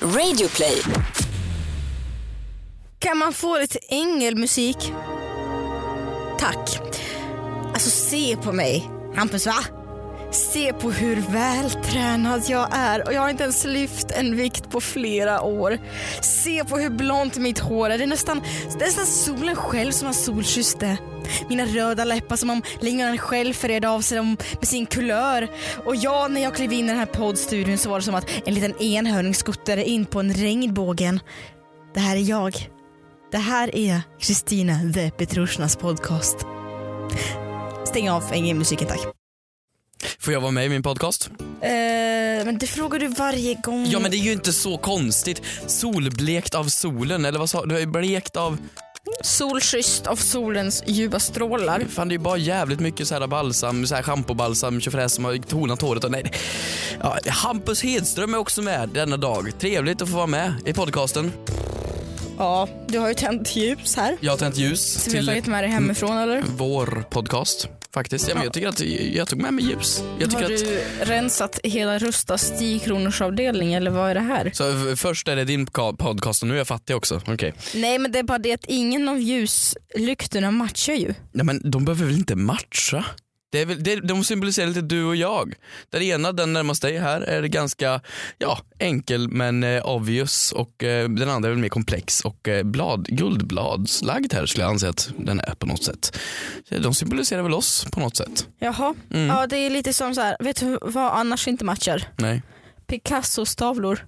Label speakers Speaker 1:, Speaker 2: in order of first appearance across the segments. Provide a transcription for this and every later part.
Speaker 1: Radioplay.
Speaker 2: Kan man få lite ängelmusik? Tack. Alltså se på mig, Hampus va? Se på hur vältränad jag är och jag har inte ens lyft en vikt på flera år. Se på hur blont mitt hår är. Det är nästan, det är nästan solen själv som har solkysste. Mina röda läppar som om lingonen själv förredde av sig dem med sin kulör. Och ja, när jag klev in i den här poddstudion så var det som att en liten enhörning skuttade in på en regnbågen. Det här är jag. Det här är Kristina The Petrushnas podcast. Stäng av ängelmusiken tack.
Speaker 3: Får jag vara med i min podcast?
Speaker 2: Mm. Eh, men det frågar du varje gång.
Speaker 3: Ja men det är ju inte så konstigt. Solblekt av solen, eller vad sa du? Blekt av...
Speaker 2: Solkysst av solens ljuva strålar.
Speaker 3: Fan det är ju bara jävligt mycket så här balsam, så här schampobalsam, tjofräs som har tonat håret och nej. Ja, Hampus Hedström är också med denna dag. Trevligt att få vara med i podcasten.
Speaker 2: Ja, du har ju tänt ljus här.
Speaker 3: Jag har tänt ljus
Speaker 2: Som du har
Speaker 3: till
Speaker 2: tagit med dig hemifrån eller?
Speaker 3: vår podcast faktiskt. Ja, men jag tycker att jag tog med mig ljus. Jag tycker
Speaker 2: Har
Speaker 3: att...
Speaker 2: du rensat hela Rustas 10 kronors avdelning eller vad är det här?
Speaker 3: Så f- först är det din ka- podcast och nu är jag fattig också. Okej.
Speaker 2: Nej men det är bara det att ingen av ljuslyktorna matchar ju.
Speaker 3: Nej men de behöver väl inte matcha? Det är väl, det, de symboliserar lite du och jag. Den ena, den närmast dig här, är ganska ja, enkel men eh, obvious och eh, den andra är väl mer komplex och eh, blad, guldbladslagd här skulle jag anse att den är på något sätt. De symboliserar väl oss på något sätt? Mm.
Speaker 2: Jaha. Ja det är lite som så här. vet du vad annars inte matchar?
Speaker 3: Nej.
Speaker 2: Picassos tavlor.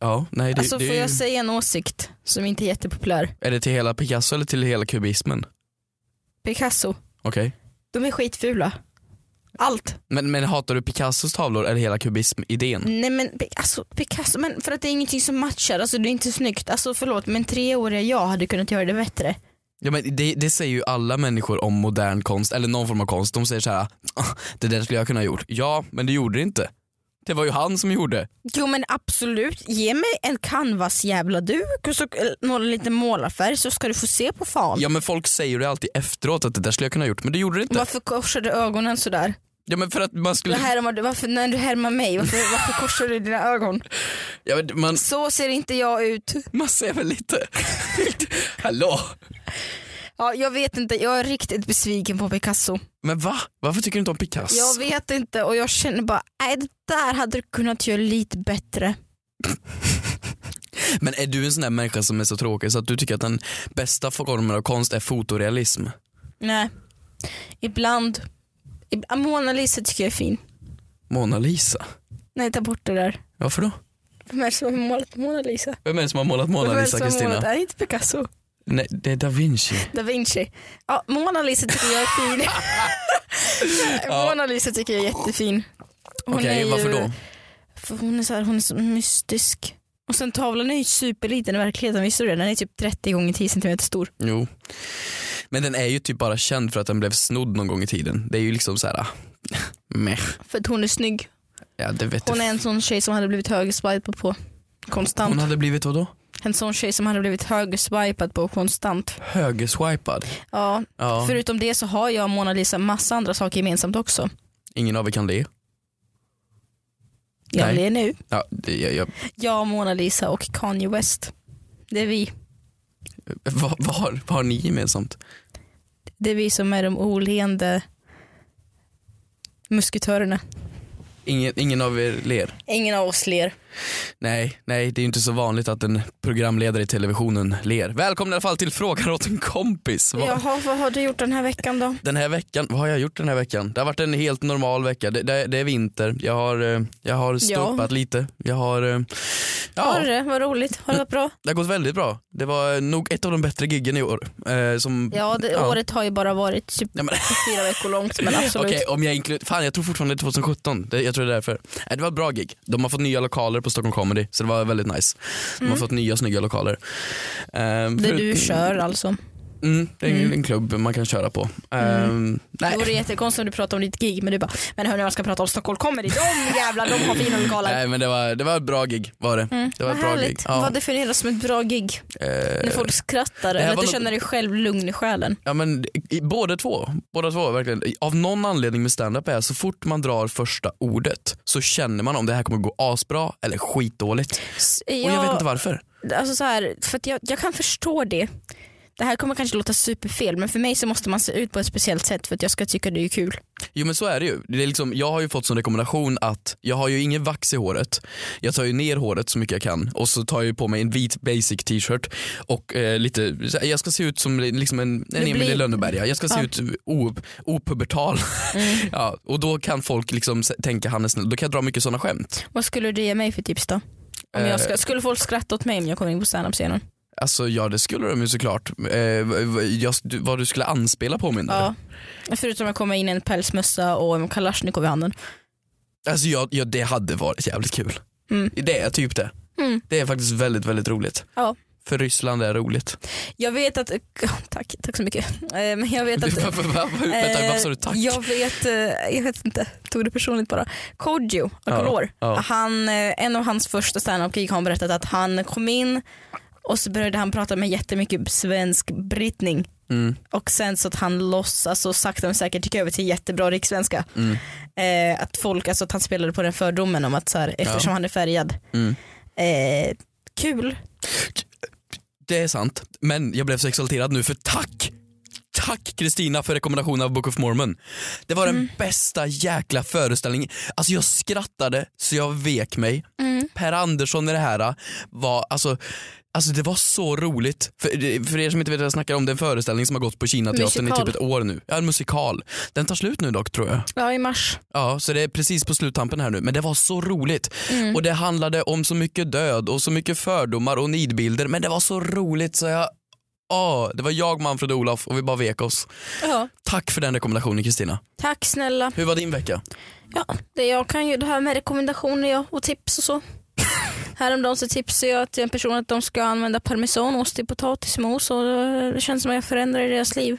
Speaker 3: Ja, nej det,
Speaker 2: alltså
Speaker 3: det,
Speaker 2: får
Speaker 3: är ju-
Speaker 2: jag säga en åsikt som inte är jättepopulär?
Speaker 3: Är det till hela Picasso eller till hela kubismen?
Speaker 2: Picasso,
Speaker 3: Okej.
Speaker 2: de är skitfula. Allt.
Speaker 3: Men, men hatar du Picassos tavlor eller hela kubism-idén?
Speaker 2: Nej men Pi- alltså, Picasso, men för att det är ingenting som matchar, alltså det är inte snyggt. Alltså förlåt men treåriga jag hade kunnat göra det bättre.
Speaker 3: Ja, men det, det säger ju alla människor om modern konst, eller någon form av konst. De säger så här: "Ah, det där skulle jag kunna ha gjort. Ja, men det gjorde det inte. Det var ju han som gjorde.
Speaker 2: Jo men absolut, ge mig en canvas jävla duk och så, eller någon liten målarfärg så ska du få se på fan.
Speaker 3: Ja men folk säger det alltid efteråt att det där skulle jag kunna ha gjort, men det gjorde det inte.
Speaker 2: Varför korsar du ögonen sådär?
Speaker 3: Ja men för att man
Speaker 2: Det
Speaker 3: skulle...
Speaker 2: här var, varför, när du härmar mig, varför, varför korsar du dina ögon?
Speaker 3: Ja, men man,
Speaker 2: Så ser inte jag ut.
Speaker 3: man ser väl lite... Hallå?
Speaker 2: Ja, jag vet inte, jag är riktigt besviken på Picasso.
Speaker 3: Men va? Varför tycker du inte om Picasso?
Speaker 2: Jag vet inte och jag känner bara, nej det där hade du kunnat göra lite bättre.
Speaker 3: Men är du en sån där människa som är så tråkig så att du tycker att den bästa formen av konst är fotorealism?
Speaker 2: Nej. Ibland. Ib- äh, Mona Lisa tycker jag är fin.
Speaker 3: Mona Lisa?
Speaker 2: Nej, ta bort det där.
Speaker 3: Varför då?
Speaker 2: Vem är det som har målat Mona Lisa?
Speaker 3: Vem är det som har målat Mona
Speaker 2: Vem är det
Speaker 3: Lisa,
Speaker 2: som har målat-
Speaker 3: Kristina?
Speaker 2: Nej, inte Picasso.
Speaker 3: Nej, det är da Vinci.
Speaker 2: Da Vinci. Ja, Mona Lisa tycker jag är fin. Mona Lisa tycker jag är jättefin. Hon
Speaker 3: Okej,
Speaker 2: är ju-
Speaker 3: varför då?
Speaker 2: För hon är så här, hon är så mystisk. Och sen tavlan är ju superliten i verkligheten, visste du det? Den är typ 30 gånger 10 cm stor.
Speaker 3: Jo. Men den är ju typ bara känd för att den blev snodd någon gång i tiden. Det är ju liksom såhär, meh.
Speaker 2: För att hon är snygg.
Speaker 3: Ja, det vet
Speaker 2: Hon
Speaker 3: du.
Speaker 2: är en sån tjej som hade blivit högerswipad på konstant.
Speaker 3: Hon hade blivit vadå?
Speaker 2: En sån tjej som hade blivit högerswipad på konstant.
Speaker 3: Högerswipad.
Speaker 2: Ja.
Speaker 3: Ja,
Speaker 2: Förutom det så har jag och Mona Lisa massa andra saker gemensamt också.
Speaker 3: ingen av er kan le.
Speaker 2: Jag
Speaker 3: Nej.
Speaker 2: ler nu.
Speaker 3: Ja, det, jag, jag,
Speaker 2: Jag, Mona Lisa och Kanye West. Det är vi.
Speaker 3: vad, vad, har, vad har ni gemensamt?
Speaker 2: Det är vi som är de oleende musketörerna.
Speaker 3: Ingen, ingen av er ler?
Speaker 2: Ingen av oss ler.
Speaker 3: Nej, nej, det är ju inte så vanligt att en programledare i televisionen ler. Välkomna i alla fall till Frågan åt en kompis. Vad-
Speaker 2: Jaha, vad har du gjort den här veckan då?
Speaker 3: Den här veckan, vad har jag gjort den här veckan? Det har varit en helt normal vecka. Det, det, det är vinter, jag har, eh, jag har stoppat lite. Jag har, eh,
Speaker 2: Har
Speaker 3: ja,
Speaker 2: du det? Vad roligt. Har det varit bra?
Speaker 3: det har gått väldigt bra. Det var nog ett av de bättre giggen i år. Eh, som,
Speaker 2: Ja, det,
Speaker 3: Ja.
Speaker 2: året har ju bara varit typ
Speaker 3: Ja, men-
Speaker 2: fyra veckor långt men absolut.
Speaker 3: Okej, om jag inkluderar, fan jag tror fortfarande det är 2017. Det, jag tror det är därför. Nej, det var ett bra gig. De har fått nya lokaler på Stockholm Comedy, så det var väldigt nice. De har fått nya snygga lokaler. Eh,
Speaker 2: Mm. Det
Speaker 3: förut-
Speaker 2: du kör alltså.
Speaker 3: Mm, det är en, en klubb man kan köra på. Ehm,
Speaker 2: Mm. Det
Speaker 3: nej.
Speaker 2: vore jättekonstigt om du pratade om ditt gig men du bara, men hörni jag ska prata om Stockholm kommer i de jävlar, de har fina lokaler.
Speaker 3: nej men det var, det var ett bra gig var det. Det var
Speaker 2: Mm. Vad
Speaker 3: ett bra
Speaker 2: härligt.
Speaker 3: gig. Ja,
Speaker 2: Vad definieras som ett bra gig?
Speaker 3: eh,
Speaker 2: När folk skrattar
Speaker 3: här
Speaker 2: eller att
Speaker 3: var
Speaker 2: du
Speaker 3: nog-
Speaker 2: känner dig själv lugn i själen?
Speaker 3: Ja men i, båda två, båda två verkligen. Av någon anledning med standup är så fort man drar första ordet så känner man om det här kommer gå asbra eller skitdåligt.
Speaker 2: S-
Speaker 3: Och jag vet inte varför.
Speaker 2: alltså så här, för att jag, jag kan förstå det. Det här kommer kanske låta superfel men för mig så måste man se ut på ett speciellt sätt för att jag ska tycka det är kul.
Speaker 3: Jo men så är det ju. Det är liksom, jag har ju fått som rekommendation att jag har ju ingen vax i håret. Jag tar ju ner håret så mycket jag kan och så tar jag ju på mig en vit basic t-shirt och eh, lite, så här, jag ska se ut som liksom en, en Emil i
Speaker 2: blir-
Speaker 3: Lönneberga. Jag ska se
Speaker 2: Ja. Mm.
Speaker 3: ut o- opubertal. ja, och då kan folk liksom s- tänka han är snäll. Då kan jag dra mycket sådana skämt. Eh,
Speaker 2: Vad skulle du ge mig för tips då? Om jag ska, skulle folk skratta åt mig om jag kom in på standup-scenen?
Speaker 3: Alltså ja det skulle de ju såklart. Eh, v- v- jag, du- vad du skulle anspela på menar du?
Speaker 2: Ja. Förutom att komma in i en pälsmössa och en kalasjnikov i handen.
Speaker 3: Alltså ja, ja, det hade varit jävligt kul.
Speaker 2: Mm.
Speaker 3: Det är typ det.
Speaker 2: Mm.
Speaker 3: Det är faktiskt väldigt väldigt roligt.
Speaker 2: Ja.
Speaker 3: För Ryssland är roligt.
Speaker 2: Jag vet att, tack, tack så mycket. Eh, Men jag vet att
Speaker 3: Varför va, va, vänta,
Speaker 2: Eh,
Speaker 3: varför sa du tack?
Speaker 2: Jag vet, eh, jag vet inte, tog det personligt bara. Kodjo,
Speaker 3: Ja,
Speaker 2: Alcolor,
Speaker 3: ja.
Speaker 2: han, eh, en av hans första standup-gig har han berättat att han kom in och så började han prata med jättemycket svensk brittning
Speaker 3: Mm,
Speaker 2: och sen så att han låtsas och sakta men säkert gick över till jättebra rikssvenska.
Speaker 3: mm,
Speaker 2: Eh, att folk, alltså att han spelade på den fördomen om att så här, eftersom han är färgad,
Speaker 3: mm.
Speaker 2: eh, kul.
Speaker 3: Det är sant. Men jag blev så exalterad nu för tack! Tack Kristina för rekommendationen av Book of Mormon. Det var den bästa jäkla föreställningen. Alltså jag skrattade så jag vek mig. Per Andersson i det här var, alltså, alltså det var så roligt. För, för er som inte vet vad jag snackar om, det är en föreställning som har gått på Kina teatern i
Speaker 2: Musikal.
Speaker 3: typ ett år nu. Ja, en musikal. Den tar slut nu dock tror jag.
Speaker 2: Ja i mars.
Speaker 3: Ja, så det är precis på sluttampen här nu. Men det var så roligt.
Speaker 2: Mm.
Speaker 3: Och det handlade om så mycket död och så mycket fördomar och nidbilder. Men det var så roligt så jag, åh, det var jag, Manfred och Olof och vi bara vek oss.
Speaker 2: Ja.
Speaker 3: Tack för den rekommendationen Kristina.
Speaker 2: Tack snälla.
Speaker 3: Hur var din vecka?
Speaker 2: Ja, det jag kan ju det här med rekommendationer ja, och tips och så. Häromdagen så tipsade jag till en person att de ska använda parmesanost i potatismos och det känns som att jag förändrar deras liv.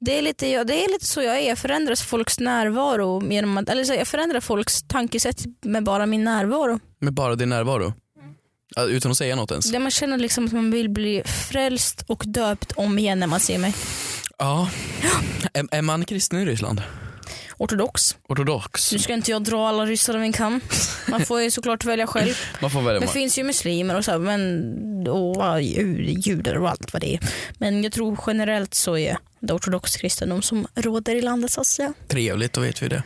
Speaker 2: Det är, lite, ja, det är lite så jag är, jag förändrar folks närvaro genom att, eller så, här, jag förändrar folks tankesätt med bara min närvaro.
Speaker 3: Med bara din närvaro? Ja, Utan att säga något ens?
Speaker 2: Där man känner liksom att man vill bli frälst och döpt om igen när man ser mig.
Speaker 3: Ja. Är, är man kristen i Ryssland?
Speaker 2: Ortodox.
Speaker 3: Ortodox?
Speaker 2: Nu ska inte jag dra alla ryssar över en kam. Man får ju såklart välja själv.
Speaker 3: Man får välja.
Speaker 2: Det
Speaker 3: man-
Speaker 2: finns ju muslimer och, så här, men, och ja, ju- judar och allt vad det är. Men jag tror generellt så är det ortodox kristendom som råder i landet så att säga.
Speaker 3: Trevligt, då vet vi det.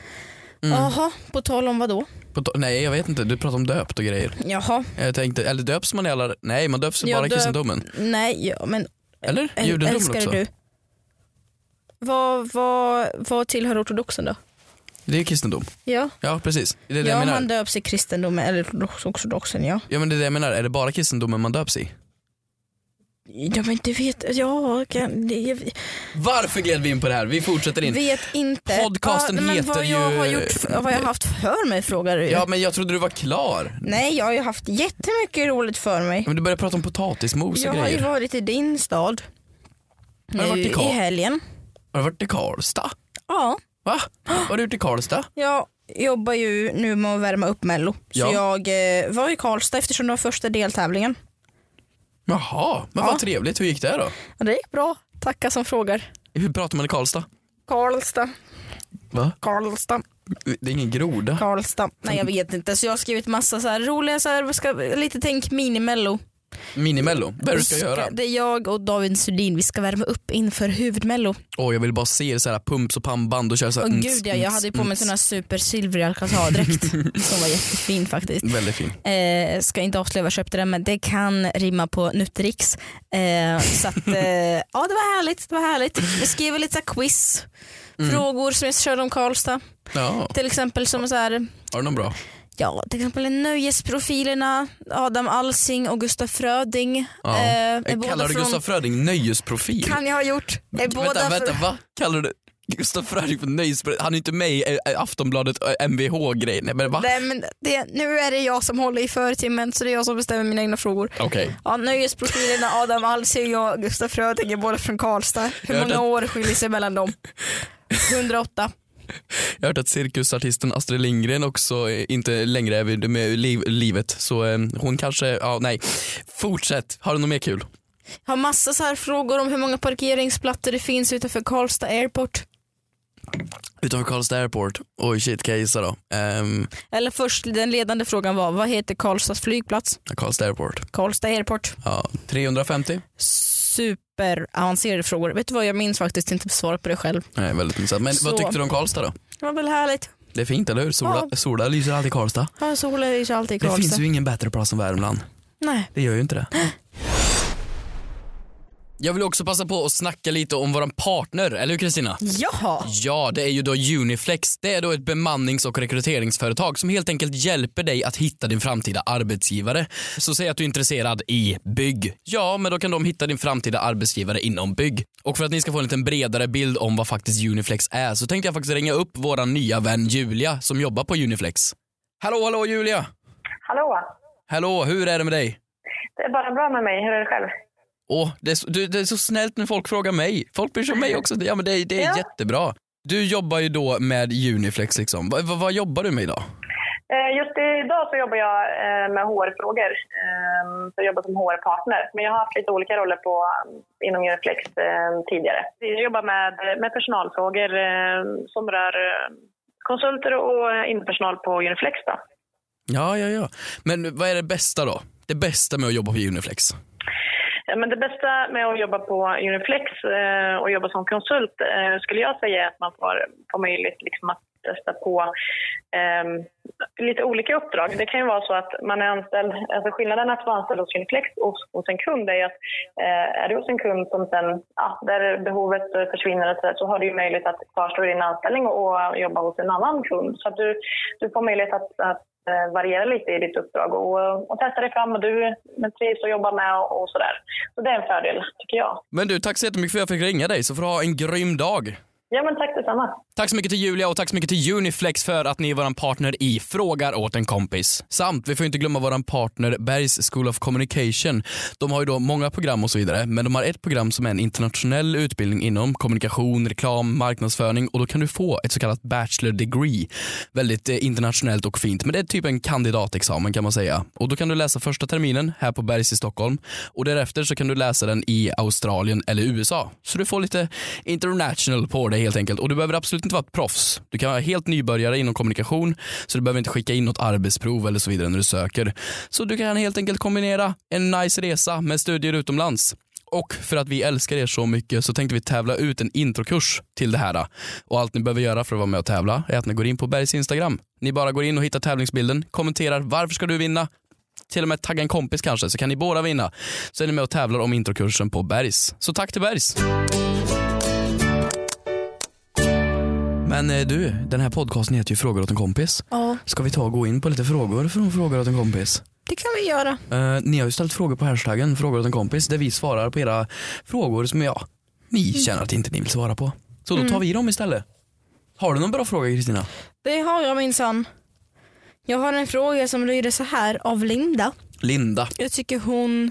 Speaker 3: Mm.
Speaker 2: Jaha, på tal om vad då?
Speaker 3: På to- Nej jag vet inte, du pratar om döpt och grejer.
Speaker 2: Jaha,
Speaker 3: Jag tänkte, eller döps man i alla... Nej man döps
Speaker 2: Ja,
Speaker 3: bara i
Speaker 2: döp-
Speaker 3: kristendomen.
Speaker 2: nej, ja, men
Speaker 3: Eller?
Speaker 2: äl-
Speaker 3: Judendomen
Speaker 2: älskade
Speaker 3: också?
Speaker 2: du? Vad, vad, vad tillhör ortodoxen då?
Speaker 3: Det är kristendom.
Speaker 2: Ja,
Speaker 3: Ja precis. Det är det
Speaker 2: ja
Speaker 3: jag menar.
Speaker 2: man döps i kristendomen eller ortodox- ortodoxen ja.
Speaker 3: Ja men det är det jag menar, är det bara kristendomen man döps i?
Speaker 2: Ja men det vet ja, kan, det, jag
Speaker 3: Varför gled vi in på det här? Vi fortsätter in.
Speaker 2: vet inte.
Speaker 3: Podcasten
Speaker 2: ja, men
Speaker 3: heter
Speaker 2: vad jag
Speaker 3: ju-
Speaker 2: Har gjort, vad jag har haft för mig frågar du ju.
Speaker 3: Ja men jag trodde du var klar.
Speaker 2: Nej, jag har ju haft jättemycket roligt för mig.
Speaker 3: Men du började prata om potatismos
Speaker 2: Jag
Speaker 3: och
Speaker 2: har ju
Speaker 3: grejer.
Speaker 2: varit i din stad
Speaker 3: Har du
Speaker 2: nu
Speaker 3: varit i
Speaker 2: i
Speaker 3: Karl-
Speaker 2: helgen.
Speaker 3: Har du varit i Karlstad?
Speaker 2: Ja,
Speaker 3: Va? Har du gjort i Karlstad?
Speaker 2: jag jobbar ju nu med att värma upp mello.
Speaker 3: Ja.
Speaker 2: Så jag eh, var i Karlstad eftersom det var första deltävlingen.
Speaker 3: Jaha, men
Speaker 2: Ja.
Speaker 3: vad trevligt. Hur gick det då?
Speaker 2: Ja, det gick bra, tacka som frågar.
Speaker 3: Hur pratar man i Karlstad?
Speaker 2: Karlstad,
Speaker 3: Va?
Speaker 2: Karlstad,
Speaker 3: Det är ingen groda.
Speaker 2: Karlstad. Nej
Speaker 3: Mm.
Speaker 2: jag vet inte, så jag har skrivit massa så här roliga, så här, vad ska, lite tänk minimello.
Speaker 3: Minimello, vad är det du ska göra?
Speaker 2: Det är jag och David Sudin, vi ska värma upp inför huvudmello.
Speaker 3: Åh jag vill bara se er så här pumps och pannband och köra Mm. såhär
Speaker 2: Åh gud ja, jag hade ju på mig en sån här supersilvrig alcazar-dräkt
Speaker 3: Mm.
Speaker 2: som var jättefin faktiskt.
Speaker 3: Väldigt fin.
Speaker 2: Eh, ska inte avslöja vad jag köpte den men det kan rimma på Nutrix. Eh, så att, eh, ja det var härligt, det var härligt. Jag skrev lite så här quiz,
Speaker 3: Mm.
Speaker 2: frågor som jag körde om Karlstad.
Speaker 3: Ja,
Speaker 2: Till exempel som så här,
Speaker 3: har du någon bra?
Speaker 2: ja till exempel nöjesprofilerna, Adam Alsing och Gustaf Fröding.
Speaker 3: Ja.
Speaker 2: Eh, är båda
Speaker 3: Kallar du
Speaker 2: från-
Speaker 3: Gustaf Fröding nöjesprofil?
Speaker 2: Kan jag ha gjort. Är båda
Speaker 3: vänta,
Speaker 2: för-
Speaker 3: vänta, va? Kallar du Gustaf Fröding för nöjesbrev. Han är inte med i eh, Aftonbladet eh, MVH-grejen. Nej, Men va?
Speaker 2: Nej, men det, nu är det jag som håller i förtimmen så det är jag som bestämmer mina egna frågor.
Speaker 3: Okej.
Speaker 2: Ja, nöjesprofilerna Adam Alsing och Gustaf Fröding är båda från Karlstad. Hur
Speaker 3: Jag hörde
Speaker 2: många
Speaker 3: att-
Speaker 2: år skiljer sig mellan dem? 108.
Speaker 3: Jag har hört att cirkusartisten Astrid Lindgren också eh, inte längre är vid med liv, livet. Så eh, hon kanske, ja nej. Fortsätt, har du något mer kul?
Speaker 2: Har massa så här frågor om hur många parkeringsplattor det finns utanför Karlstad airport.
Speaker 3: Utanför Karlstad airport, oj shit kan jag gissa då? Ehm,
Speaker 2: Eller först, den ledande frågan var vad heter Karlstads flygplats?
Speaker 3: Karlstad airport,
Speaker 2: Karlstad airport.
Speaker 3: ja 350?
Speaker 2: Superavancerade frågor. Vet du vad, jag minns faktiskt inte svaret på det själv.
Speaker 3: Nej väldigt intressant. Men
Speaker 2: Så.
Speaker 3: vad tyckte du om Karlstad då?
Speaker 2: Det var väl härligt.
Speaker 3: Det är fint eller hur? Sola, sola lyser alltid i Karlstad.
Speaker 2: Ja, solen är ju alltid i
Speaker 3: Det
Speaker 2: Karlstad.
Speaker 3: finns ju ingen bättre plats än Värmland.
Speaker 2: Nej.
Speaker 3: Det gör ju inte det. Jag vill också passa på att snacka lite om våran partner, eller hur Kristina?
Speaker 2: Jaha.
Speaker 3: Ja, det är ju då Uniflex. Det är då ett bemannings och rekryteringsföretag som helt enkelt hjälper dig att hitta din framtida arbetsgivare. Så säg att du är intresserad i bygg. Ja, men då kan de hitta din framtida arbetsgivare inom bygg. Och för att ni ska få en liten bredare bild om vad faktiskt Uniflex är så tänkte jag faktiskt ringa upp vår nya vän Julia som jobbar på Uniflex. Hallå, hallå Julia!
Speaker 1: Hallå!
Speaker 3: Hallå, hur är det med dig?
Speaker 1: Det är bara bra med mig. Hur är det själv?
Speaker 3: Åh, det, är så, du, det är så snällt när folk frågar mig. Folk bryr sig om mig också. Ja, men det, det är
Speaker 1: Ja.
Speaker 3: jättebra. Du jobbar ju då med Uniflex. Liksom. Va, va, vad jobbar du med idag?
Speaker 1: Eh, Just idag så jobbar jag eh, med HR-frågor. Ehm, Så jag jobbar som HR-partner. Men jag har haft lite olika roller på, inom Uniflex eh, tidigare. Jag jobbar med, med personalfrågor eh, som rör eh, konsulter och eh, inpersonal på Uniflex. Då.
Speaker 3: Ja, ja, ja. Men vad är det bästa då? Det bästa med att jobba på Uniflex?
Speaker 1: Ja, Eh, Men det bästa med att jobba på Uniflex eh, och jobba som konsult eh, skulle jag säga är att man får, får möjlighet liksom att testa på ehm, lite olika uppdrag. Det kan ju vara så att man är anställd, alltså skillnaden att vara anställd hos Uniflex och hos en kund är ju att eh, är du hos en kund som sen, ja, där behovet eh, försvinner och så, där, så har du ju möjlighet att kvarstå i din anställning och, och jobba hos en annan kund. Så att du, du får möjlighet att, att eh, variera lite i ditt uppdrag och, och testa dig fram och du men trivs att jobba med och, och sådär. Så det är en fördel tycker jag.
Speaker 3: Men du, tack så jättemycket för att jag fick ringa dig, så får du ha en grym dag.
Speaker 1: Ja men tack detsamma.
Speaker 3: Tack så mycket till Julia och tack så mycket till Uniflex för att ni är vår partner i Frågar åt en kompis. Samt, vi får inte glömma vår partner Bergs School of Communication. De har ju då många program och så vidare, men de har ett program som är en internationell utbildning inom kommunikation, reklam, marknadsföring och då kan du få ett så kallat bachelor degree. Väldigt eh, internationellt och fint, men det är typ en kandidatexamen kan man säga. Och då kan du läsa första terminen här på Bergs i Stockholm och därefter så kan du läsa den i Australien eller USA. Så du får lite international på det helt enkelt. Och du behöver absolut inte vara ett proffs. Du kan vara helt nybörjare inom kommunikation så du behöver inte skicka in något arbetsprov eller så vidare när du söker. Så du kan helt enkelt kombinera en nice resa med studier utomlands. Och för att vi älskar er så mycket så tänkte vi tävla ut en introkurs till det här. Och allt ni behöver göra för att vara med och tävla är att ni går in på Bergs Instagram. Ni bara går in och hittar tävlingsbilden, kommenterar varför ska du vinna? till och med tagga en kompis kanske så kan ni båda vinna. Så är ni med och tävlar om introkursen på Bergs. Så tack till Bergs! Men eh, du, den här podcasten heter ju Frågor åt en kompis.
Speaker 2: Ja,
Speaker 3: Ska vi ta och gå in på lite frågor från Frågor åt en kompis?
Speaker 2: det kan vi göra.
Speaker 3: Eh, ni har ju ställt frågor på hashtaggen Frågor åt en kompis där vi svarar på era frågor som ja, ni känner att inte ni vill svara på. Så då tar vi dem istället. Har du någon bra fråga Kristina?
Speaker 2: Det har jag minsann. Jag har en fråga som lyder så här av Linda.
Speaker 3: Linda.
Speaker 2: Jag tycker hon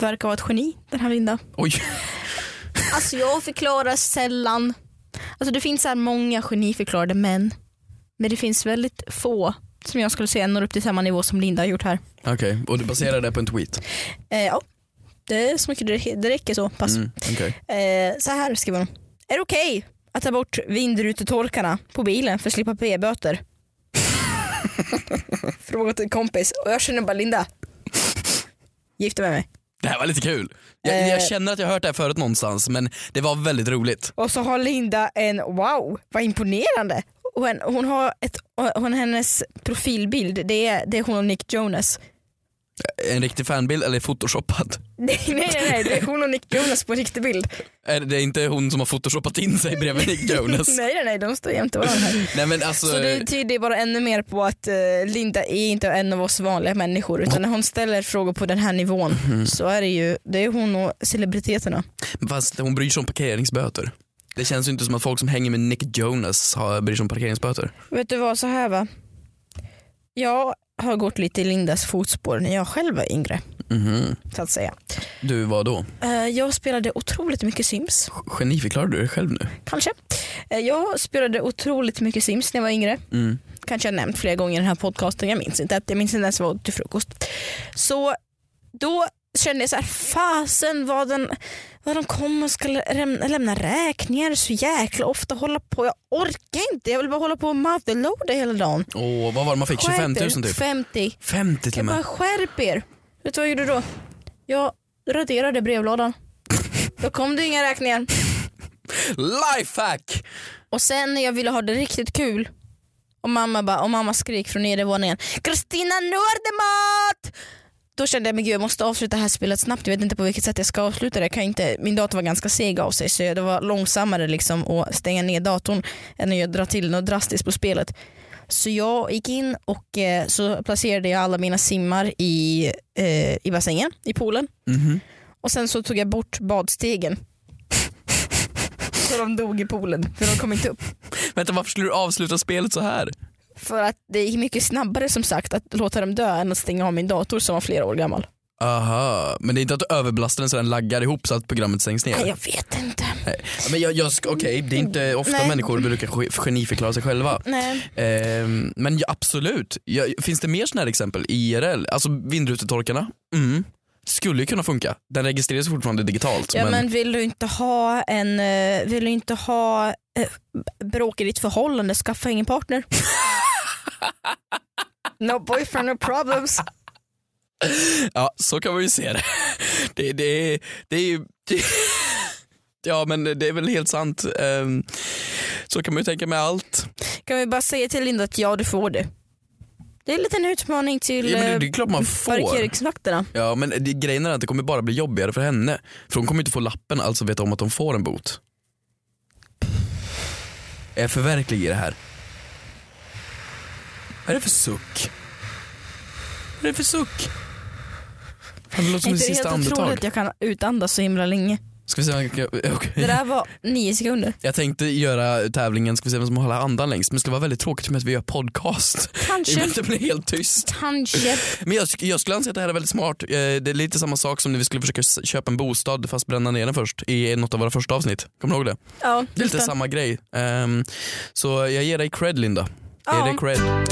Speaker 2: verkar vara ett geni, den här Linda.
Speaker 3: Oj.
Speaker 2: Alltså jag förklarar sällan. Alltså det finns så här många geniförklarade män. Men det finns väldigt få som jag skulle säga når upp till samma nivå som Linda har gjort här.
Speaker 3: Okej, och du baserar det på en tweet?
Speaker 2: Eh, ja, det är så mycket det, det räcker så pass.
Speaker 3: Mm, okej.
Speaker 2: Eh, så här skriver hon. Är det okej att ta bort vindrutetorkarna på bilen för att slippa p-böter? Fråga till en kompis och jag känner bara Linda. Gifte med mig.
Speaker 3: Det här var lite kul. Jag,
Speaker 2: Eh.
Speaker 3: jag känner att jag har hört det här förut någonstans men det var väldigt roligt.
Speaker 2: Och så har Linda en wow, vad imponerande. Och en, hon har ett, hon, hennes profilbild, det är, det är hon och Nick Jonas.
Speaker 3: En riktig fanbild eller photoshoppad?
Speaker 2: Nej, nej, nej, nej, det är hon och Nick Jonas på riktig bild.
Speaker 3: Är det inte hon som har photoshoppat in sig bredvid Nick Jonas?
Speaker 2: Nej, nej, nej, de står jämte varandra här.
Speaker 3: Nej men alltså,
Speaker 2: Så det tyder bara ännu mer på att eh, Linda är inte en av oss vanliga människor utan när hon ställer frågor på den här nivån så är det ju det är hon och celebriteterna.
Speaker 3: fast hon bryr sig om parkeringsböter. Det känns ju inte som att folk som hänger med Nick Jonas har, bryr sig om parkeringsböter.
Speaker 2: Vet du vad, så här va. Jag har gått lite i Lindas fotspår när jag själv var yngre.
Speaker 3: Mhm.
Speaker 2: Så att säga.
Speaker 3: Du, vad då?
Speaker 2: Eh, Jag spelade otroligt mycket Sims,
Speaker 3: Geniförklarar du dig själv nu?
Speaker 2: kanske. Eh, Jag spelade otroligt mycket Sims när jag var yngre.
Speaker 3: Mm.
Speaker 2: Kanske jag nämnt flera gånger i den här podcasten, jag minns inte. Jag minns inte ens vad jag åt till frukost. Så då kände jag så här, fasen vad, den, vad de kommer och ska lämna, lämna räkningar så jäkla ofta. Hålla på, jag orkar inte. Jag vill bara hålla på och motherloada hela dagen.
Speaker 3: Åh, vad var det man fick? 25 000
Speaker 2: Skärp er.
Speaker 3: typ?
Speaker 2: 50.
Speaker 3: 50 till och
Speaker 2: Jag bara
Speaker 3: med.
Speaker 2: skärp er. Vet du vad jag gjorde då? Jag raderade brevlådan. Då kom det inga räkningar.
Speaker 3: Lifehack!
Speaker 2: Och sen när jag ville ha det riktigt kul och mamma, bara, och mamma skrek från nedervåningen Kristina Nordemat! Då kände jag men gud jag måste avsluta det här spelet snabbt. Jag vet inte på vilket sätt jag ska avsluta det. Jag Kan inte, min dator var ganska seg av sig så jag- det var långsammare liksom att stänga ner datorn än att jag dra till något drastiskt på spelet. Så jag gick in och eh, så placerade jag alla mina simmar i, eh, i bassängen, i poolen.
Speaker 3: Mhm.
Speaker 2: Och sen så tog jag bort badstegen. så de dog i poolen för de kom inte upp.
Speaker 3: Vänta, varför skulle du avsluta spelet så här?
Speaker 2: För att det gick mycket snabbare som sagt att låta dem dö än att stänga av min dator som var flera år gammal.
Speaker 3: Aha, men det är inte att du överbelastar den så den laggar ihop så att programmet stängs ner?
Speaker 2: Nej, jag vet inte.
Speaker 3: Nej. Men jag, jag, ska- okej, det är inte ofta
Speaker 2: Nej.
Speaker 3: människor brukar ge- geniförklara sig själva.
Speaker 2: Nej.
Speaker 3: Ehm, men ja, absolut, ja, finns det mer sådana här exempel? IRL, alltså vindrutetorkarna, mm. skulle ju kunna funka. Den registreras fortfarande digitalt.
Speaker 2: Ja,
Speaker 3: men,
Speaker 2: men vill du inte ha en, eh, vill du inte ha eh, bråk i ditt förhållande, skaffa ingen partner. No boyfriend, no problems.
Speaker 3: ja, så kan man ju se det. Det, det, är- det är ju... Ja men det är väl helt sant. Ehm, så kan man ju tänka med allt.
Speaker 2: Kan vi bara säga till Linda att ja, du får det. Det är en liten utmaning till
Speaker 3: Ja, men det, det
Speaker 2: eh,
Speaker 3: är klart man får.
Speaker 2: parkeringsvakterna.
Speaker 3: Ja men det, grejen är att det kommer bara bli jobbigare för henne. För hon kommer inte få lappen, alltså veta om att hon får en bot. Är jag för verklig i det här? Vad är det för suck? Vad är det för suck? Fan, det låter
Speaker 2: Det
Speaker 3: som
Speaker 2: är
Speaker 3: ett
Speaker 2: inte
Speaker 3: sista
Speaker 2: helt otroligt att
Speaker 3: andetag.
Speaker 2: jag kan utandas så himla länge.
Speaker 3: Ska vi se, om jag kan- okej.
Speaker 2: Det där var nio sekunder.
Speaker 3: Jag tänkte göra tävlingen, ska vi se vem som håller andan längst, men det skulle vara väldigt tråkigt med att vi gör podcast. I och med
Speaker 2: Kanske,
Speaker 3: att det blir helt tyst.
Speaker 2: kanske.
Speaker 3: Men jag, sk- jag skulle anse att det här är väldigt smart. Eh, det är lite samma sak som när vi skulle försöka s- köpa en bostad fast bränna ner den först i något av våra första avsnitt. Kommer du ihåg det?
Speaker 2: Ja,
Speaker 3: Det är lite
Speaker 2: just
Speaker 3: samma grej. Ehm, så jag ger dig cred Linda. Jag
Speaker 2: Ja.
Speaker 3: ger dig cred.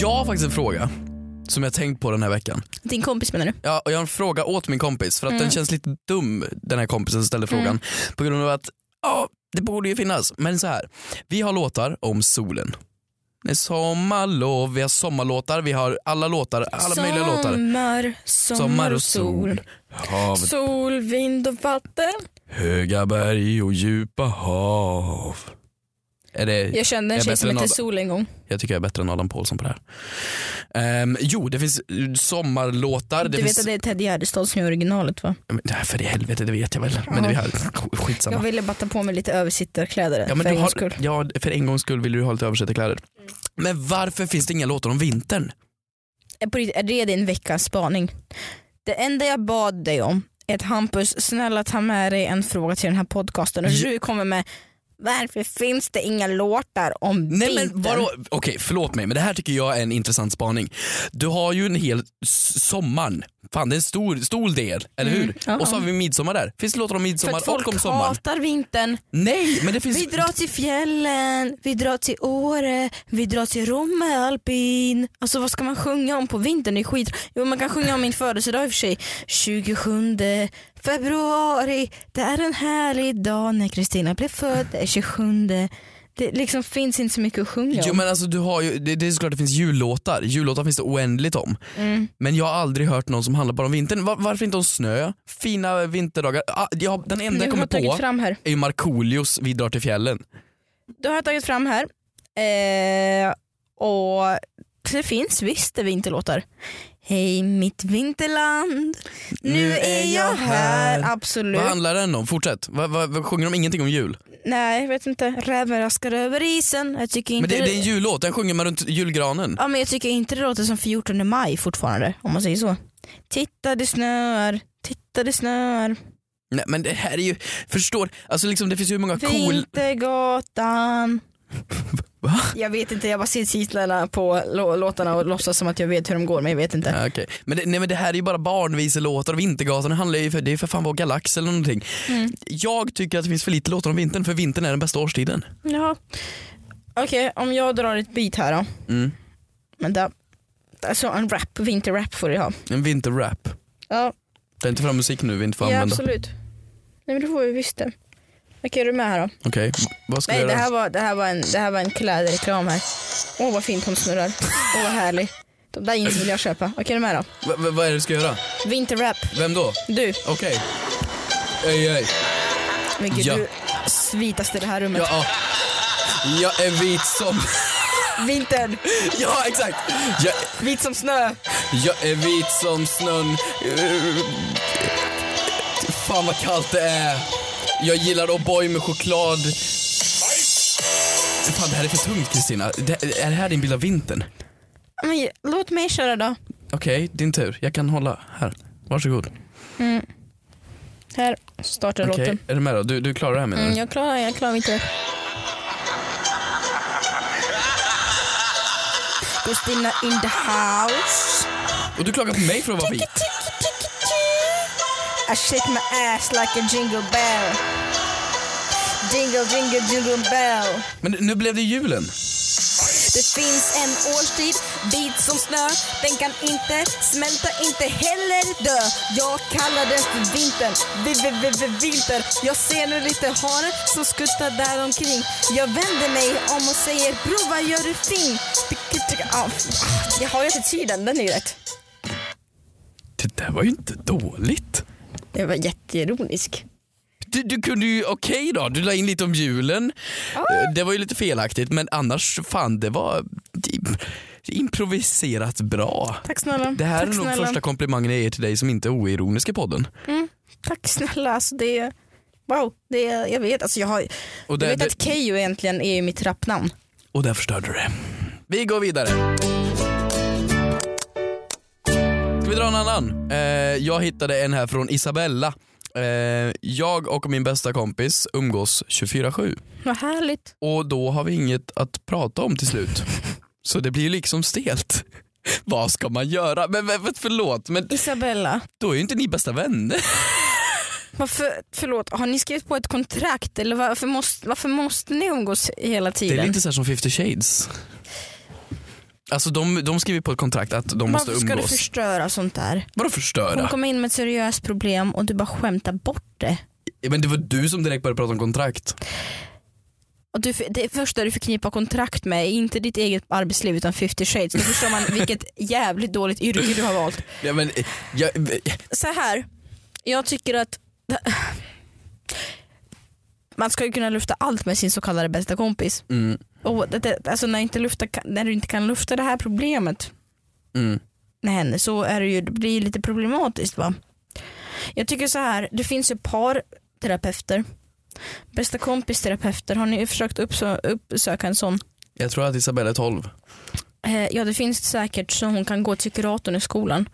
Speaker 3: Jag har faktiskt en fråga som jag tänkt på den här veckan.
Speaker 2: Din kompis menar du?
Speaker 3: Ja, och jag har en fråga åt min kompis för att
Speaker 2: Mm.
Speaker 3: den känns lite dum den här kompisen som ställde frågan. På grund av att, ja det borde ju finnas. Men så här, vi har låtar om solen. Det är sommarlov, vi har sommarlåtar, vi har alla låtar, alla möjliga låtar.
Speaker 2: Sommar, sommar,
Speaker 3: Sommar
Speaker 2: och sol.
Speaker 3: Hav,
Speaker 2: Sol, vind och vatten.
Speaker 3: höga berg och djupa hav. Är det, jag...
Speaker 2: Jag kände en
Speaker 3: Jag
Speaker 2: tjej
Speaker 3: är bättre
Speaker 2: som
Speaker 3: än
Speaker 2: hette
Speaker 3: Adam.
Speaker 2: Sol en gång.
Speaker 3: tycker jag är bättre än Adam Pålsson på det här. Ehm, jo, det finns eh, sommarlåtar.
Speaker 2: Du
Speaker 3: Det
Speaker 2: vet
Speaker 3: finns...
Speaker 2: att det är Ted Gärdestad som gör originalet va?
Speaker 3: Men, nej, för i helvete, det vet jag väl. Men det vi har... skitsamma.
Speaker 2: Jag ville bara ta på mig lite översittarkläder
Speaker 3: Ja,
Speaker 2: för
Speaker 3: men du
Speaker 2: en gångs
Speaker 3: har,
Speaker 2: skull. Mm.
Speaker 3: ja, för en gångs skull vill du ha lite översittarkläder. Men varför finns det inga låtar om vintern?
Speaker 2: Är på riktigt- Är det din veckans spaning? Det enda jag bad dig om är att Hampus, snälla ta med dig en fråga till den här podcasten och
Speaker 3: Ja.
Speaker 2: du kommer med varför finns det inga låtar om
Speaker 3: Nej men
Speaker 2: vintern?
Speaker 3: vadå? Okej förlåt mig men det här tycker jag är en intressant spaning. Du har ju en hel s- sommaren, fan det är en stor, stor del, eller hur?
Speaker 2: Mm, ja.
Speaker 3: Och så har vi midsommar där. Finns det låtar om
Speaker 2: För
Speaker 3: midsommar
Speaker 2: att folk
Speaker 3: och om sommaren?
Speaker 2: hatar vintern.
Speaker 3: Nej men det finns...
Speaker 2: Vi drar till fjällen, vi drar till Åre, vi drar till Romme alpin. Alltså vad ska man sjunga om på vintern? Det är skit. Jo man kan sjunga om min födelsedag i och för sig. 27 februari, det är en härlig dag när Kristina blev född, det är 27. Det liksom finns inte så mycket att sjunga
Speaker 3: Jo
Speaker 2: om.
Speaker 3: men alltså du har ju, det, det är såklart det finns jullåtar, jullåtar finns det oändligt om.
Speaker 2: Mm.
Speaker 3: Men jag har aldrig hört någon som handlar bara om vintern. Var, varför inte om snö? Fina vinterdagar. Ah, jag, den enda jag
Speaker 2: Nu har
Speaker 3: kommer
Speaker 2: jag tagit
Speaker 3: på
Speaker 2: fram här.
Speaker 3: är ju Markoolios Vi drar till fjällen.
Speaker 2: Då har jag tagit fram här. Eh, och det finns visst det vinterlåtar. Hej mitt vinterland, nu, är jag här. Absolut.
Speaker 3: Vad handlar den om? Fortsätt. Vad, vad, vad sjunger de ingenting om jul?
Speaker 2: Nej, jag vet inte. Räven raskar över isen. Jag tycker inte
Speaker 3: Men det, det är en
Speaker 2: det...
Speaker 3: jullåt, den sjunger man runt julgranen.
Speaker 2: Ja, men jag tycker inte det låter som 14 maj fortfarande, om man säger så. Titta det snöar, titta det snöar.
Speaker 3: Nej men det här är ju, förstår, alltså liksom det finns ju hur många cool...
Speaker 2: Vintergatan.
Speaker 3: Va?
Speaker 2: Jag vet inte, jag bara ser titlarna på lå- låtarna och låtsas som att jag vet hur de går men jag vet inte.
Speaker 3: Ja, okej. men, det, nej, men det här är ju bara barnviselåtar och Vintergatan det handlar ju för, det är ju för fan vår galax eller någonting.
Speaker 2: Mm.
Speaker 3: Jag tycker att det finns för lite låtar om vintern för vintern är den bästa årstiden.
Speaker 2: Jaha. Okej, om jag drar ett bit här då.
Speaker 3: Mm.
Speaker 2: Vänta. Alltså en rap, vinterrap får du ha.
Speaker 3: En vinterrap.
Speaker 2: Ja,
Speaker 3: Ta inte fram musik nu vi inte får
Speaker 2: ja
Speaker 3: använda.
Speaker 2: absolut. Nej men det får vi visst det. Okej, är du med här då?
Speaker 3: Okej, vad ska
Speaker 2: Nej
Speaker 3: jag
Speaker 2: det
Speaker 3: göra?
Speaker 2: här, var, det, här var en, det här var en klädreklam här. Åh vad fint hon snurrar. Åh vad härlig. De där jeansen vill jag köpa. Okej, är du med då?
Speaker 3: Va, va, vad är det du ska göra?
Speaker 2: Vinterrap.
Speaker 3: Vem då?
Speaker 2: Du,
Speaker 3: Okej. Ej, ej.
Speaker 2: men gud
Speaker 3: Ja.
Speaker 2: du svitas i det här rummet.
Speaker 3: Ja, ja. Jag är vit som...
Speaker 2: Vintern,
Speaker 3: Ja, exakt! Jag,
Speaker 2: vit som snö.
Speaker 3: jag är vit som snön. Eh, Fan vad kallt det är. Jag gillar O'boy med choklad. Fan, det här är för tungt Kristina. Det- Är det här din bild av vintern?
Speaker 2: Men, låt mig köra då.
Speaker 3: Okej, din tur. Jag kan hålla här. Varsågod.
Speaker 2: Här startar
Speaker 3: Okej,
Speaker 2: låten.
Speaker 3: är du med då? Du, du klarar det här menar du?
Speaker 2: Mm, jag klarar, jag klarar inte. Kristina in the house.
Speaker 3: Och du klagar på mig för att vara vit?
Speaker 2: I shake my ass like a jingle bell. Jingle, jingle, jingle bell.
Speaker 3: Men nu blev det julen.
Speaker 2: Det finns en årstid, vit som snö. Den kan inte smälta, inte heller dö. Jag kallar den för vintern, vi, vi, vi, vi, vinter. Jag ser nu lite hare som skuttar där omkring. Jag vänder mig om och säger bro vad gör du fin? Ah, Jag har ju inte tiden, den är ju rätt.
Speaker 3: Det där var ju inte dåligt.
Speaker 2: Det var jätteironisk.
Speaker 3: Du, du kunde ju, okej då, du la in lite om julen. Eh, Det var ju lite felaktigt men annars, fan det var det- improviserat bra.
Speaker 2: Tack snälla.
Speaker 3: Det här
Speaker 2: Tack
Speaker 3: är nog
Speaker 2: snälla.
Speaker 3: första komplimangen jag ger till dig som inte är oironisk i podden.
Speaker 2: Tack snälla, alltså det är... Wow, det är, jag vet, alltså jag har...
Speaker 3: Och
Speaker 2: jag
Speaker 3: det,
Speaker 2: vet
Speaker 3: det,
Speaker 2: att Keyyo egentligen är ju mitt rapnamn.
Speaker 3: och där förstörde du det. Vi går vidare. Ska vi dra en annan? Eh, jag hittade en här från Isabella. Eh, jag och min bästa kompis umgås 24-7.
Speaker 2: Vad härligt.
Speaker 3: och då har vi inget att prata om till slut. Så det blir ju liksom stelt. Vad ska man göra? Men, men men förlåt, men
Speaker 2: Isabella,
Speaker 3: då är ju inte ni bästa vänner.
Speaker 2: Varför, förlåt, har ni skrivit på ett kontrakt eller varför måste, varför måste ni umgås hela
Speaker 3: Det
Speaker 2: tiden?
Speaker 3: är lite så här som 50 shades. Alltså de, de skriver på ett kontrakt att de måste
Speaker 2: varför ska du
Speaker 3: umgås.
Speaker 2: förstöra sånt där?
Speaker 3: Vadå
Speaker 2: Hon
Speaker 3: förstöra?
Speaker 2: kommer in med ett seriöst problem och du bara skämtar bort det.
Speaker 3: Men det var du som direkt började prata om kontrakt.
Speaker 2: Och du, det första du förknippar kontrakt med är inte ditt eget arbetsliv utan 50 shades. Då förstår man vilket jävligt dåligt yrke du har valt.
Speaker 3: Ja, men, eh, jag,
Speaker 2: Så här, jag tycker att man ska ju kunna lufta allt med sin så kallade bästa kompis.
Speaker 3: mm,
Speaker 2: Och det, det, alltså när, inte lufta, när du inte kan lufta det här problemet
Speaker 3: mm.
Speaker 2: med henne så är det ju, det blir ju lite problematiskt va. Jag tycker så här, det finns ju par terapeuter. Bästa kompis terapeuter, har ni försökt uppsö- uppsöka en sån?
Speaker 3: Jag tror att Isabella är 12.
Speaker 2: Eh, ja det finns säkert så hon kan gå till kuratorn i skolan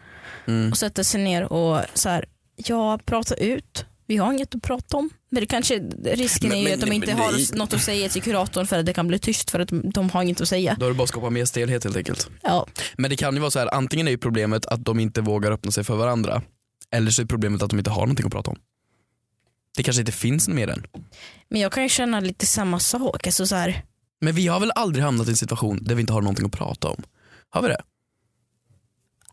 Speaker 3: Mm.
Speaker 2: och sätta sig ner och så här, ja prata ut. Vi har inget att prata om. Men det kanske, risken
Speaker 3: Men-
Speaker 2: är ju
Speaker 3: men-
Speaker 2: att de
Speaker 3: nej,
Speaker 2: inte
Speaker 3: men
Speaker 2: har
Speaker 3: nej.
Speaker 2: något att säga till kuratorn för att det kan bli tyst för att de, de har inget att säga.
Speaker 3: Då har du bara skapat mer stelhet helt enkelt.
Speaker 2: Ja.
Speaker 3: Men det kan ju vara så här, antingen är ju problemet att de inte vågar öppna sig för varandra. Eller så är problemet att de inte har någonting att prata om. Det kanske inte finns något mer än.
Speaker 2: Men jag kan ju känna lite samma sak. Alltså så här,
Speaker 3: Men vi har väl aldrig hamnat i en situation där vi inte har någonting att prata om? Har vi det?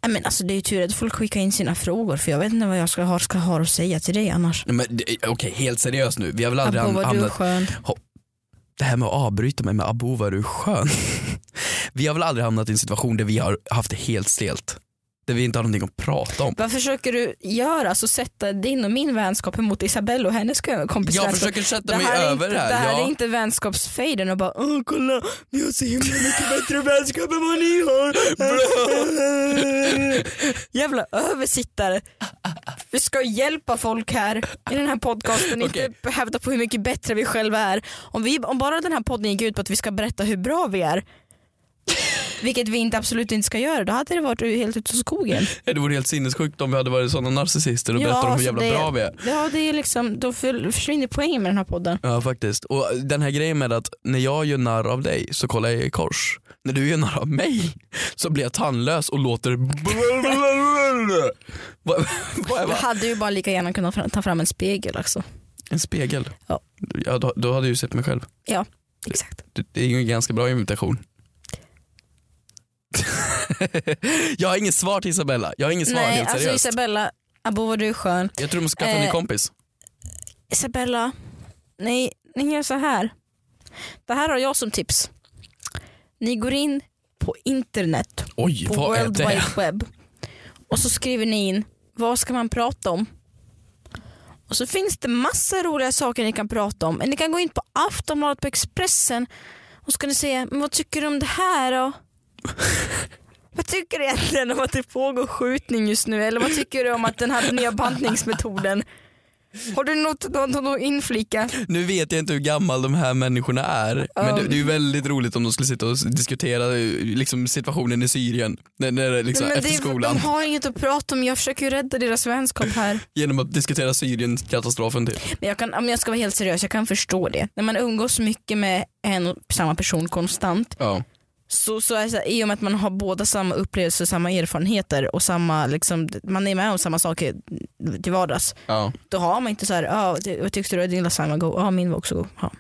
Speaker 2: Nej, Men alltså det är ju tur att folk skickar in sina frågor för jag vet inte vad jag ska ha, ska ha att säga till dig annars.
Speaker 3: Nej, men det- eh, Okej, helt seriöst nu. Vi har väl aldrig
Speaker 2: Abbo,
Speaker 3: ham-
Speaker 2: vad du är
Speaker 3: hamnat...
Speaker 2: skön.
Speaker 3: Det här med att avbryta mig med abo vad du är skön. vi har väl aldrig hamnat i en situation där vi har haft det helt stelt. Där vi inte har någonting att prata om.
Speaker 2: Vad försöker du göra? Alltså sätta din och min vänskap emot Isabelle och hennes kompis
Speaker 3: Jag
Speaker 2: vänskap.
Speaker 3: försöker sätta mig
Speaker 2: är
Speaker 3: över
Speaker 2: inte,
Speaker 3: det här.
Speaker 2: alltså, det här
Speaker 3: ja.
Speaker 2: är inte vänskapsfejden och bara Åh, kolla vi har så himla mycket bättre vänskap än vad ni har. Jävla översittare. Vi ska hjälpa folk här i den här podcasten, inte
Speaker 3: Okej.
Speaker 2: hävda på hur mycket bättre vi själva är. Om, vi, om bara den här podden gick ut på att vi ska berätta hur bra vi är Vilket vi inte absolut inte ska göra. Då hade det varit helt ute i skogen.
Speaker 3: Det vore helt sinnessjukt om vi hade varit sådana narcissister och berättat om hur
Speaker 2: alltså
Speaker 3: jävla
Speaker 2: det,
Speaker 3: bra vi är.
Speaker 2: Ja, det är liksom, då för- försvinner poängen med den här podden.
Speaker 3: Ja faktiskt. Och den här grejen med att när jag gör narr av dig så kollar jag i kors. När du gör narr av mig så blir jag tandlös och låter vad, vad är
Speaker 2: Du
Speaker 3: vad?
Speaker 2: hade ju bara lika gärna kunnat fra- ta fram en spegel också.
Speaker 3: En spegel.
Speaker 2: Ja.
Speaker 3: Ja, då, då hade jag ju sett mig själv.
Speaker 2: Ja, exakt.
Speaker 3: Det- Det är ju en ganska bra imitation. jag har inget svar till Isabella. Jag har inget svar
Speaker 2: Nej,
Speaker 3: helt
Speaker 2: alltså
Speaker 3: seriöst.
Speaker 2: Isabella, abo vad du är skön.
Speaker 3: jag tror du måste skaffa en ny
Speaker 2: Eh,
Speaker 3: kompis.
Speaker 2: Isabella, ni, ni gör så här. Det här har jag som tips. Ni går in på internet,
Speaker 3: Oj,
Speaker 2: på
Speaker 3: vad är
Speaker 2: World
Speaker 3: det?
Speaker 2: Wide Web och så skriver ni in vad ska man prata om. Och så finns det massa roliga saker ni kan prata om. Ni kan gå in på Aftonbladet på Expressen och så kan ni säga men vad tycker du om det här då? Vad tycker du egentligen om att det pågår skjutning just nu? Eller vad tycker du om att den här nya bantningsmetoden? Har du något, något, något att inflika?
Speaker 3: Nu vet jag inte hur gammal de här människorna är, men det, det är ju väldigt roligt om de skulle sitta och s- diskutera eh, liksom, situationen i Syrien när, när, det är liksom,
Speaker 2: Men
Speaker 3: efter
Speaker 2: det,
Speaker 3: skolan.
Speaker 2: de har inget att prata om. Jag försöker ju rädda deras vänskap här.
Speaker 3: Genom att diskutera Syrien-katastrofen typ.
Speaker 2: Men jag, kan, om jag ska vara helt seriös, jag kan förstå det. När man umgås mycket med en och samma person konstant,
Speaker 3: Ja.
Speaker 2: så, så är det så här, i och med att man har båda samma upplevelser, samma erfarenheter och samma, liksom, man är med om samma saker till vardags,
Speaker 3: Ja.
Speaker 2: då har man inte så här, "Ja, det- vad tyckte du att din lasagne var god? Ja, min var också god. Ja.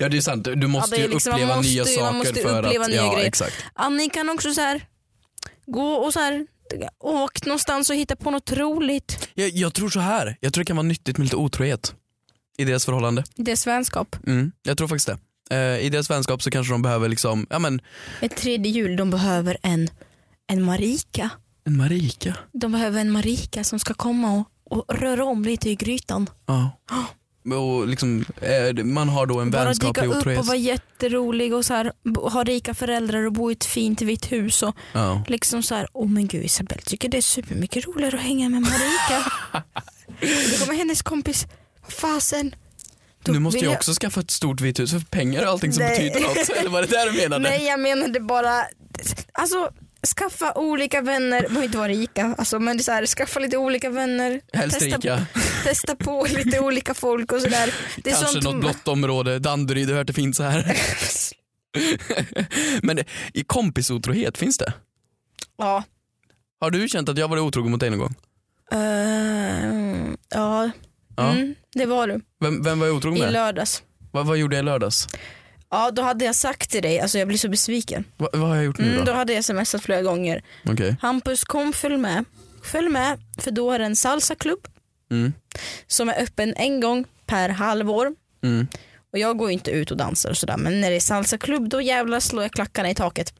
Speaker 3: ja det är sant, du måste
Speaker 2: det är
Speaker 3: ju
Speaker 2: liksom- man
Speaker 3: uppleva
Speaker 2: måste
Speaker 3: nya
Speaker 2: ju- man
Speaker 3: saker
Speaker 2: måste
Speaker 3: för
Speaker 2: uppleva
Speaker 3: att...
Speaker 2: nya
Speaker 3: ja,
Speaker 2: grejer.
Speaker 3: exakt.
Speaker 2: Ja, ni kan också så här, gå och så här, åk någonstans och hitta på något roligt
Speaker 3: Jag, jag tror så här, jag tror det kan vara nyttigt med lite otrohet i deras förhållande.
Speaker 2: i deras vänskap.
Speaker 3: Mm, jag tror faktiskt det. Eh, I deras vänskap så kanske de behöver liksom, ja men
Speaker 2: Ett tredje jul, de behöver en, en Marika.
Speaker 3: en Marika.
Speaker 2: De behöver en Marika som ska komma och, och röra om lite i grytan.
Speaker 3: Ja. Och liksom, eh, man har då en
Speaker 2: Bara dyka
Speaker 3: vänskaplig
Speaker 2: upp
Speaker 3: otrohet.
Speaker 2: och vara jätterolig och så här, bo- ha rika föräldrar och bo i ett fint vitt hus. Och
Speaker 3: ja.
Speaker 2: liksom så här, oh men gud Isabelle tycker det är supermycket roligare att hänga med Marika. Då kommer hennes kompis, vad fasen. Då
Speaker 3: nu måste
Speaker 2: vill
Speaker 3: jag också skaffa ett stort vitt hus för pengar och allting som
Speaker 2: Nej.
Speaker 3: betyder något. Eller var det där du menade?
Speaker 2: Nej jag menade bara, alltså skaffa olika vänner, de behöver inte vara rika, alltså, men det är så här, skaffa lite olika vänner.
Speaker 3: Helst
Speaker 2: testa,
Speaker 3: rika.
Speaker 2: testa på lite olika folk och sådär. Det är
Speaker 3: Kanske
Speaker 2: sånt-
Speaker 3: något blått område. Danderyd, jag har hört det finns här. Men det- i kompisotrohet, finns det?
Speaker 2: Ja,
Speaker 3: Har du känt att jag varit otrogen mot dig någon gång?
Speaker 2: Eh, ja,
Speaker 3: Ja.
Speaker 2: Mm, det var du.
Speaker 3: Vem, vem var jag otrogen
Speaker 2: I
Speaker 3: med?
Speaker 2: lördags.
Speaker 3: Vad, vad gjorde jag i lördags?
Speaker 2: Ja, då hade jag sagt till dig, alltså jag blir så besviken.
Speaker 3: Vad, vad har jag gjort nu
Speaker 2: Mm, då
Speaker 3: då?
Speaker 2: hade jag smsat flera gånger.
Speaker 3: Okej.
Speaker 2: Hampus kom följ med. Följ med för då är det en salsaklubb
Speaker 3: Mm.
Speaker 2: som är öppen en gång per halvår.
Speaker 3: Mm.
Speaker 2: Och jag går ju inte ut och dansar och sådär men när det är salsaklubb då jävlar slår jag klackarna i taket.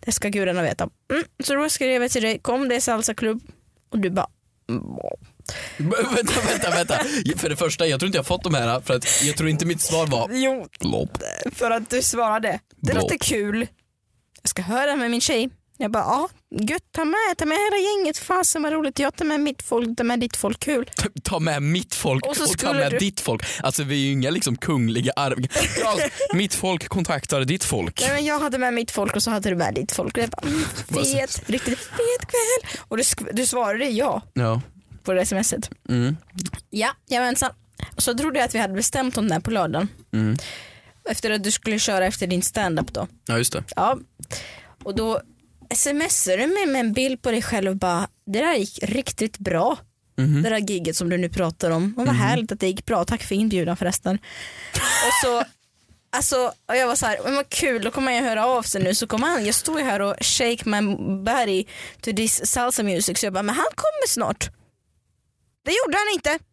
Speaker 2: Det ska gudarna veta. Mm, så då skrev jag till dig, kom det är salsaklubb. Och du bara, "Mm."
Speaker 3: B- vänta, vänta, vänta. För det första, jag tror inte jag fått de här för att jag tror inte mitt svar var
Speaker 2: jo
Speaker 3: blopp.
Speaker 2: för att du svarade. Det
Speaker 3: Bra.
Speaker 2: låter kul. Jag ska höra med min tjej. Jag bara, ja gött ta med, ta med hela gänget, fasen vad roligt. Jag tar med mitt folk, ta med ditt folk, kul.
Speaker 3: ta med mitt folk och,
Speaker 2: Och så
Speaker 3: ta
Speaker 2: skulle
Speaker 3: med
Speaker 2: du-
Speaker 3: ditt folk. Alltså vi är ju inga liksom kungliga arv... Ja, mitt folk kontaktar ditt folk.
Speaker 2: Nej, men jag hade med mitt folk och så hade du med ditt folk. Och jag bara, mm, fet, riktigt fet kväll. Och du, sk- du svarade ja
Speaker 3: Ja.
Speaker 2: på det smset.
Speaker 3: Mm.
Speaker 2: Ja, jajamensan. Och så trodde jag att vi hade bestämt om det här på lördagen.
Speaker 3: Mm.
Speaker 2: Efter att du skulle köra efter din stand-up då.
Speaker 3: ja, just det.
Speaker 2: Ja. Och då smsar du mig med en bild på dig själv och bara det där gick riktigt bra. Det där giget som du nu pratar om. Och vad härligt att det gick bra. Tack för inbjudan förresten. och så Alltså, och jag var så här, men vad kul, då kommer jag höra av sig nu. Så kommer han, jag står ju här och shake my body to this salsa music. Så jag bara, men han kommer snart. Det gjorde han inte.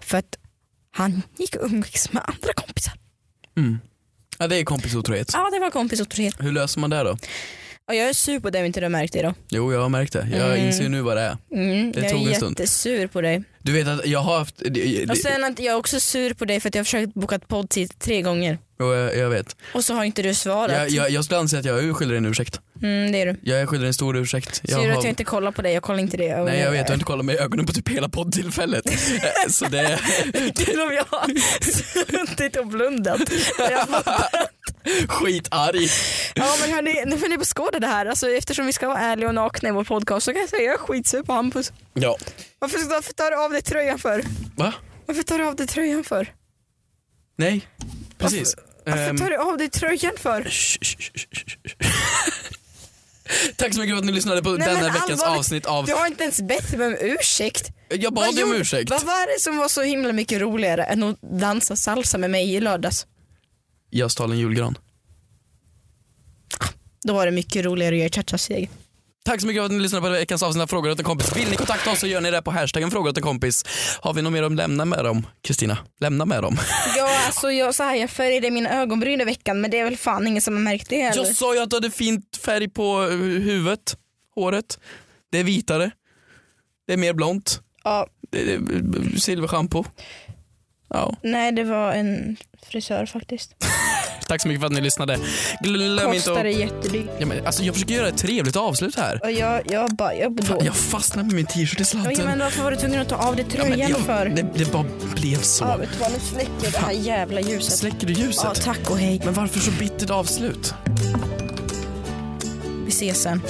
Speaker 2: För att han gick och umgicks med andra kompisar.
Speaker 3: Ja, det är kompisotrohet.
Speaker 2: Ja, det var kompisotrohet.
Speaker 3: Hur löser man det då?
Speaker 2: Och jag är sur på dig om inte du har märkt det då.
Speaker 3: Jo, jag har märkt det. Jag inser ju nu vad det är.
Speaker 2: Mm,
Speaker 3: Det
Speaker 2: jag
Speaker 3: tog
Speaker 2: är
Speaker 3: en stund.
Speaker 2: jättesur på dig.
Speaker 3: Du vet att jag har haft... det- det-
Speaker 2: Och sen att jag är också sur på dig för att jag har försökt boka podd till tre gånger
Speaker 3: Jo, jag, jag vet.
Speaker 2: och så har inte du svarat.
Speaker 3: Jag, jag, jag skulle anse att jag är skyldig dig en ursäkt.
Speaker 2: Mm, det är du.
Speaker 3: Jag är skyldig dig en stor ursäkt.
Speaker 2: Ser du
Speaker 3: har-
Speaker 2: att jag inte kollar på dig? Jag kollar inte det.
Speaker 3: Nej jag vet, jag har inte kollat mig i ögonen på typ hela poddtillfället. Eh, Så det...
Speaker 2: Till och med jag har suttit och blundat. Jag har fattat.
Speaker 3: Skitarg.
Speaker 2: Ja men hörni, nu får ni beskåda det här. Alltså, eftersom vi ska vara ärliga och nakna i vår podcast så kan jag säga jag är skitsur på Hampus.
Speaker 3: Ja.
Speaker 2: Varför, varför tar du av dig tröjan för?
Speaker 3: Va?
Speaker 2: Varför tar du av dig tröjan för?
Speaker 3: Nej. Precis.
Speaker 2: Varför
Speaker 3: Ehm,
Speaker 2: tar du av dig tröjan för?
Speaker 3: sh- sh- sh- sh- sh- sh. Tack så mycket för att ni lyssnade på
Speaker 2: Nej,
Speaker 3: denna
Speaker 2: men
Speaker 3: veckans
Speaker 2: allvarligt,
Speaker 3: avsnitt av...
Speaker 2: Du har inte ens bett mig om ursäkt.
Speaker 3: Jag bad dig om
Speaker 2: gjorde-
Speaker 3: ursäkt.
Speaker 2: Vad var det som var så himla mycket roligare än att dansa salsa med mig i lördags?
Speaker 3: Jag stal en julgran.
Speaker 2: Då var det mycket roligare att göra cha-cha-steg.
Speaker 3: Tack så mycket för att ni lyssnade på veckans avsnitt av Frågor åt en kompis. Vill ni kontakta oss så gör ni det på hashtaggen Frågor åt en kompis. Har vi något mer att lämna med dem? Kristina, lämna med dem.
Speaker 2: Ja, alltså jag, så här, jag färgade mina ögonbryn i veckan men det är väl fan ingen som har märkt det heller.
Speaker 3: Jag sa ju att du hade fint färg på eh, huvudet, håret. Det är vitare. Det är mer blont.
Speaker 2: Ja,
Speaker 3: Det det är silverschampo. Ja.
Speaker 2: nej, det var en frisör faktiskt.
Speaker 3: Tack så mycket för att ni lyssnade. Glöm inte
Speaker 2: Kostade
Speaker 3: att...
Speaker 2: jättedyrt.
Speaker 3: Ja, men, alltså, jag försöker göra ett trevligt avslut här.
Speaker 2: Och jag, jag bara, jag blev
Speaker 3: Fan,
Speaker 2: dålig.
Speaker 3: jag fastnar med min t-shirt i sladden.
Speaker 2: Ja, men varför var du tvungen att ta av dig
Speaker 3: Ja, men
Speaker 2: tröjan
Speaker 3: jag-
Speaker 2: för?
Speaker 3: det, det bara blev
Speaker 2: Ja,
Speaker 3: så.
Speaker 2: vet du vad, nu släcker jag det här jävla ljuset.
Speaker 3: Släcker du
Speaker 2: Ja,
Speaker 3: ljuset?
Speaker 2: tack och hej.
Speaker 3: Men varför så bittert avslut?
Speaker 2: Vi ses sen.